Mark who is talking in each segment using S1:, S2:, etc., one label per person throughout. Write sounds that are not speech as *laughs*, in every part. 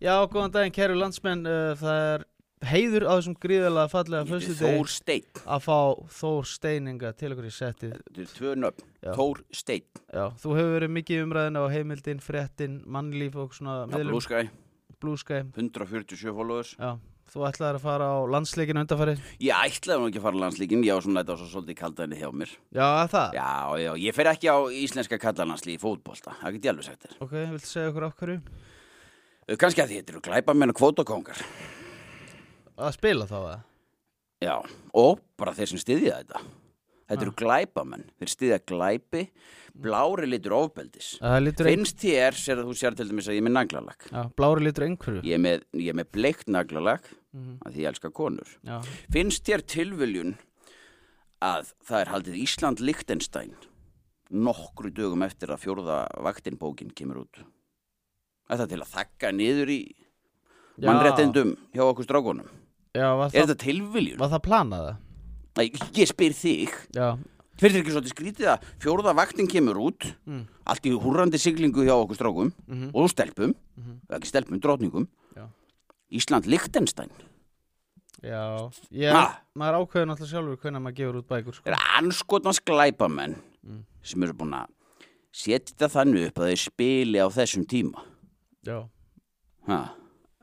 S1: Já, góðan daginn, kæru landsmenn uh, Það er heiður á þessum gríðalega fallega fyrstu
S2: Þór Steinn
S1: að fá Þór Steininga til okkur í settið
S2: Þetta er tvö nöfn,
S1: Já.
S2: Þór Steinn
S1: Já, þú hefur verið mikið umræðin á heimildin, fréttin, mannlíf og svona
S2: Það er blúskæ,
S1: blúskæ
S2: 147 followers
S1: Já, þú ætlaðir að fara á landsleikinu undanfarið
S2: Ég ætlaði nú ekki að fara á landsleikinn, ég á svona þetta var svo svolítið kaldaðinni hjá mér
S1: Já, að það?
S2: Já, já, ég fer ekki á íslenska kallalandsli í fótbolta, það get ég alveg sagt þér
S1: Ok, viltu segja okkur okkur
S2: Uh, Kannski að þið heitir glæpamenn og kvótakongar
S1: að spila þá það?
S2: Já, og bara þeir sem styðja þetta Þetta eru
S1: Ah.
S2: glæpamenn, þeir styðja glæpi, blári litur ofbeldis
S1: Það lítur ein...
S2: Finnst þér, sér að þú sér til dæmis að ég er með naglalag
S1: Já, blári lítur einhverju
S2: Ég er með, ég er með bleikt naglalag,
S1: Mhm.
S2: að því ég elska konur
S1: Já,
S2: Finnst þér tilviljun að það er haldið Ísland Lichtenstein nokkru dögum eftir að fjórða vaktinbókin kemur út? Er það til að þakka niður í
S1: Já.
S2: mannréttindum hjá okkur strákunum?
S1: já var,
S2: Er
S1: það,
S2: þetta tilviljun?
S1: var það planað það?
S2: Nei, ég spyr þig.
S1: Já,
S2: Fyrir þér ekki svolítið skrítið að fjórða vaktin kemur út,
S1: Mm.
S2: allt í húrandi siglingu hjá okkur strákum
S1: Mhm.
S2: og stelpum,
S1: Mhm.
S2: eða ekki stelpum, drotningum,
S1: Já.
S2: Ísland Lichtenstein.
S1: já ég,
S2: Ha?
S1: Maður ákveður náttúrulega sjálfur hvernig maður gefur út bækur
S2: Það
S1: sko.
S2: er anskotnans glæpamenn sem eru búin að setja þetta þannig upp að þeir spili á þessum tíma.
S1: Já,
S2: Ha.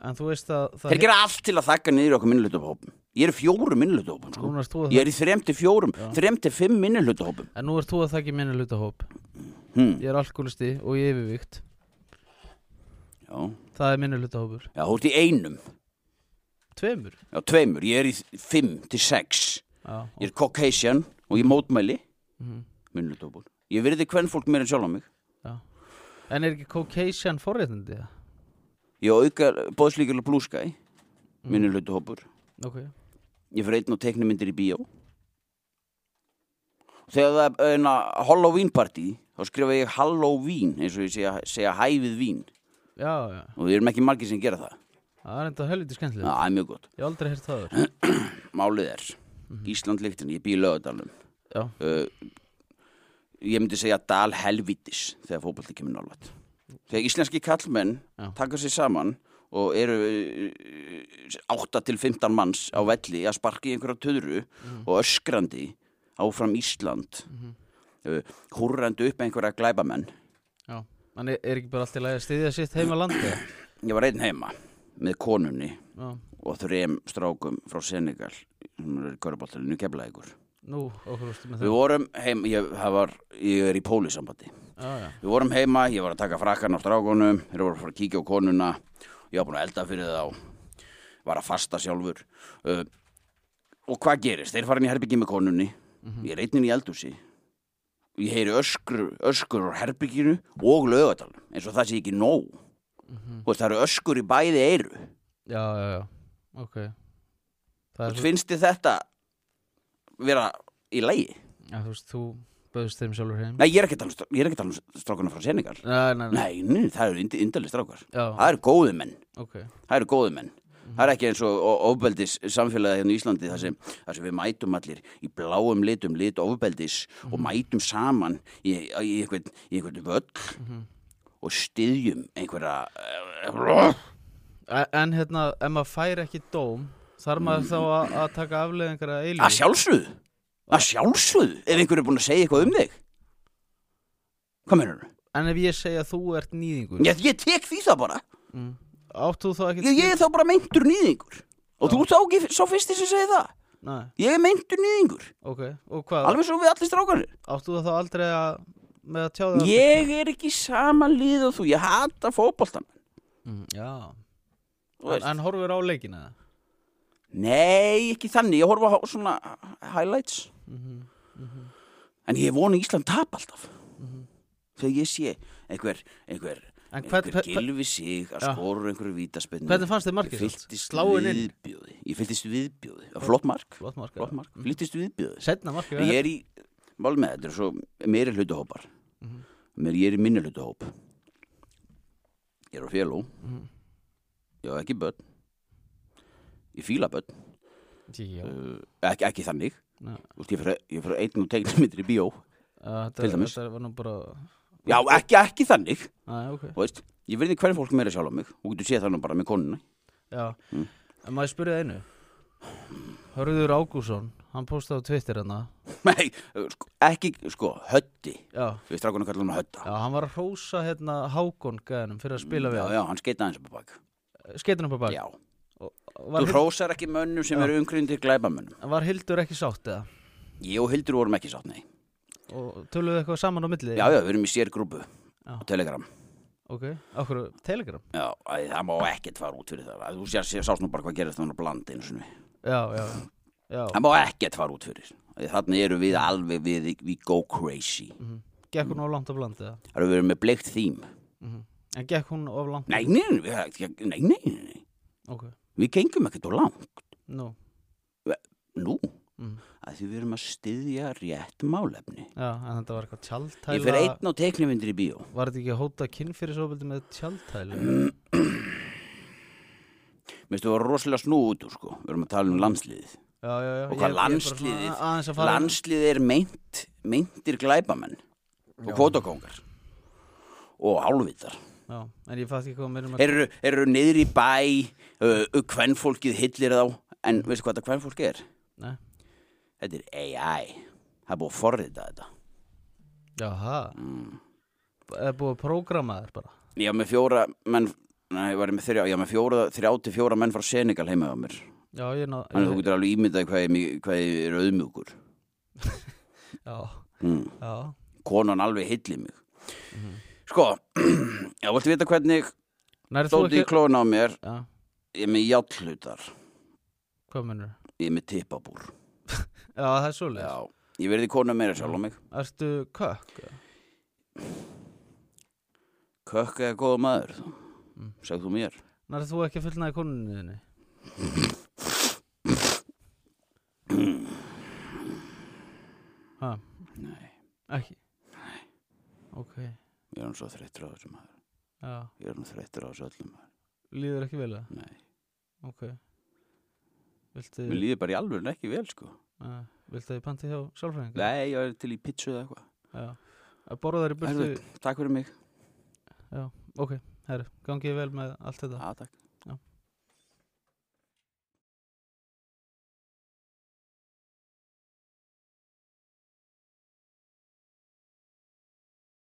S1: en þú veist að það
S2: Þeir gera allt til að þakka niður í okkur minnlutahópum. Ég er í fjórum minnlutahópum, sko.
S1: Núna ert þú að
S2: Ég er í þrem til fjórum, þrem til fimm minnlutahópum.
S1: En nú ert þú að þakki minni hlutahóp
S2: Hmm.
S1: Ég er alkoholisti og ég er yfirvíkt
S2: Já.
S1: Það er minni hlutahópur
S2: Já, þú ert í einum.
S1: Tveimur
S2: Já, tveimur. Ég er í þ- fimm til sex.
S1: Já,
S2: Ég er Caucasian og ég mótmæli
S1: Mhm.
S2: minnlutahópum. Ég verði hvern fólk meira en sjálf á mig.
S1: já. En er ekki Caucasian forréttindi það?
S2: Ég auka bóðslíkjulega blúskæ, minnlutahópur.
S1: Ok
S2: Ég fyrir einn og teiknumyndir í bíó. Þegar það er eina Halloween party, þá skrifa ég Halloween, eins og ég segja, segja hæfið vín.
S1: Já, já
S2: Og við erum ekki margir sem gera það.
S1: Það er enda helviti skemmtilega
S2: Það er mjög gott.
S1: Ég hef aldrei heyrt það áður.
S2: Málið er, Ísland líktin, ég býi lögadalum.
S1: Já,
S2: Uh, ég myndi segja dal helvitis þegar fótbolti kemur nálat. Þegar íslenski kallmenn
S1: Já.
S2: taka sér saman og eru 8 til 15 manns á velli að sparki einhverja töðru og öskrandi áfram Ísland mm húrrandi upp einhverja glæbamenn
S1: já En er, er ekki bara allt í lagi að styðja sitt heima
S2: *coughs*
S1: landi?
S2: ég var einn heima með konunni
S1: Já,
S2: og þrem strákum frá Senegal sem eru í Körbáttalinu keflaðikur
S1: nú, okkur úrstu með
S2: við
S1: það
S2: vorum heim ég, það var, ég er í pólisambandi
S1: Já, já,
S2: Við vorum heima, ég var að taka frakkan á strákunum, þeir voru að fara að kíkja á konuna, ég var búin að elda fyrir þá, var að fasta sjálfur. Uh, og hvað gerist? Þeir fara inn í herbyggi með konunni,
S1: Mhm.
S2: ég er einnin í eldhúsi, ég heyri öskur, öskur á herbygginu og lögatalum, eins og það sé ekki nóg. Þú veist, það eru öskur í bæði eyru.
S1: Mhm. já, já, já Ok Það er
S2: Þú finnst þið þetta vera í lægi?
S1: Já, þú veist, þú bauðst þeim sjálfur heim
S2: Nei, ég er ekki að tala um, strá- ég er ekki að tala um strákunum frá Senegal.
S1: Nei, nei, nei,
S2: Nei, nei, það eru indalist strákar.
S1: já,
S2: Það eru góði menn.
S1: ok Mhm.
S2: það eru góðu menn það er ekki eins og o- ofbeldis samfélagi hérna í Íslandi þar sem, þar sem við mætum allir í bláum litum, lit ofbeldis og mætum saman í, í einhvern, í einhvern völl og styðjum einhverja
S1: E- En hérna, ef maður fær ekki dóm þarf maður þá að, að taka afleðingar að eilíð
S2: að sjálfsögðu að sjálfsögðu ef einhver er búin að segja eitthvað um þig hvað mennur þú?
S1: En ef ég segja að þú ert nýðingur
S2: Ég, ég tek því það bara
S1: Áttu þú þá ekki
S2: ég, ég er þá bara meintur nýðingur og þú ert þá ekki sá fyrsti sem segir það
S1: Nei,
S2: ég er meintur nýðingur
S1: ok, og hvað?
S2: alveg svo við allir strákanir
S1: Áttu þú þá aldrei að með að tjá það?
S2: Ég er ekki í sama lið og þú, ég hata fótboltan.
S1: Mm, Já,
S2: Þú
S1: en,
S2: veist.
S1: en horfur á leikina það?
S2: Nei, ekki þannig, ég horfa á svona highlights.
S1: Mhm,
S2: En ég vona Ísland tap alltaf. Þegar ég sé einhver, einhver,
S1: Mhm. En hvern-
S2: einhver
S1: hvern-
S2: gilfi sig að
S1: Já.
S2: skora einhverju vítaspinnu.
S1: Hvernig fannst þér markið
S2: Ég
S1: samt?
S2: fylltist
S1: Sláin inn?
S2: viðbjóði. Ég fylltist viðbjóði. Það var Flott mark.
S1: Flott Mhm. mark,
S2: Flott
S1: já.
S2: mark. Fylltist viðbjóði.
S1: Setna markið
S2: Ég er í, mál með þetta, er svo meiri hlutahópar
S1: Mhm.
S2: mér, Ég er í minni hlutahóp Ég er á félú
S1: Mhm.
S2: Ég á ekki börn Ég fíla börn
S1: Já,
S2: uh, ekki, ekki þannig
S1: já.
S2: Úst, Ég fyrir, ég fyrir einn og tegnum myndir í bíó
S1: Þetta,
S2: Til dæmis.
S1: þetta var nú bara
S2: Já, ekki, ekki þannig
S1: Nei, ok
S2: þú veist, Ég verði hvernig fólk meira sjálf á mig og getur séð þannig bara með konuna
S1: Já,
S2: Mm.
S1: en maður spurði einu Hörður Ágússon Hann postaði á Twitter hérna. hana
S2: *laughs* Nei, sko, ekki, sko, hötti
S1: Já,
S2: Við strákunum kallum hann hötta
S1: já hann var að hrósa hérna Hákon gæðanum fyrir að spila við
S2: Mm, Já, já, hann skeita aðeins upp á bak
S1: hann Skeitin upp að bak
S2: Já,
S1: var,
S2: þú
S1: Hild-
S2: hrósar ekki mönnum sem
S1: Já.
S2: eru umgryndir glæbamönnum
S1: var Hildur ekki sátt eða
S2: Ég og Hildur vorum ekki sátt, nei
S1: Og töluðu eitthvað saman á milli
S2: Já, já, við erum í sérgrúpu á Telegram
S1: Ok, okkur Telegram
S2: Já, æ, það má ekkert fara út fyrir það Æ, Þú sér, sér sást nú bara hvað gerist þannig að blanda einu sinni
S1: Já, já, já
S2: Það má ekkert fara út fyrir Æ, Þannig eru við alveg við, við go crazy
S1: Mhm. Gekk hún of langt af landið
S2: Það eru við með bleikt þým
S1: En gekk hún of langt
S2: Nei, nei, nei, nei, nei, nei, nei.
S1: Ok,
S2: Við gengum ekkert og langt
S1: nú
S2: Nú,
S1: mm.
S2: að því við erum að styðja rétt málefni
S1: Já, en þetta var eitthvað tjaldtæla
S2: Ég fer einn á teiknumyndir í bíó
S1: Var þetta ekki að hóta kynfyrirsofbildi með tjaldtælu?
S2: Mér stu að vera rosalega snú út úr sko Við erum að tala um landsliðið
S1: Já, já, já
S2: Og
S1: ég-
S2: hvað
S1: ég er bara
S2: landsliðið-
S1: svona Aðeins að fara
S2: Landsliðið er meint, meintir glæbamenn Og kvotakóngar Og hálfvitar
S1: Já, en ég fatt ekki hvað mér um að
S2: Eru, eru niður í bæ uh, Kvenfólkið hillir þá En veistu hvað þetta kvenfólk er?
S1: Nei.
S2: Þetta er AI Það er búið að forrita þetta
S1: Jaha
S2: mm.
S1: Er búið að prógrama þér bara
S2: Ég var með fjóra menn Nei, ég var með þrjá, ég var með fjóra, þrjá til fjóra menn frá Senegal heima á mér.
S1: Já, ég ná
S2: Þannig að þú
S1: ég,
S2: getur alveg ímyndað hvað ég, mi- hvað ég er auðmjúkur.
S1: Já,
S2: Mm.
S1: já
S2: konan alveg hilli mig
S1: Mhm.
S2: sko, *clears throat* ég viltu vita hvernig
S1: Nærið þú
S2: stóði
S1: ekki
S2: í klóin á mér
S1: Já,
S2: ég er með játlutar,
S1: hvað munur
S2: ég er með tippabúr
S1: Já, það er svoleiðis
S2: já, ég verði konu meira sjálf á mig
S1: Ertu kökk?
S2: kökk eða góða maður
S1: Mm.
S2: segð þú mér
S1: Nærið þú ekki að fullnaði konunni þinni? Ha,
S2: nei,
S1: ekki Ok,
S2: ég er hann svo þreyttur á þessu maður
S1: já
S2: ég er hann þreyttur á þessu öllum maður
S1: Líður ekki vel það?
S2: nei,
S1: Ok Viltu
S2: mér líður bara í alveg ekki vel sko
S1: uh, Viltu að ég panti hjá sálfræðingar?
S2: nei, ég er til í pizzu eða eitthvað
S1: Já Að borða þær í burtu
S2: Herðu, takk fyrir mig
S1: Ok, herru, gangið vel með allt þetta
S2: ja, takk.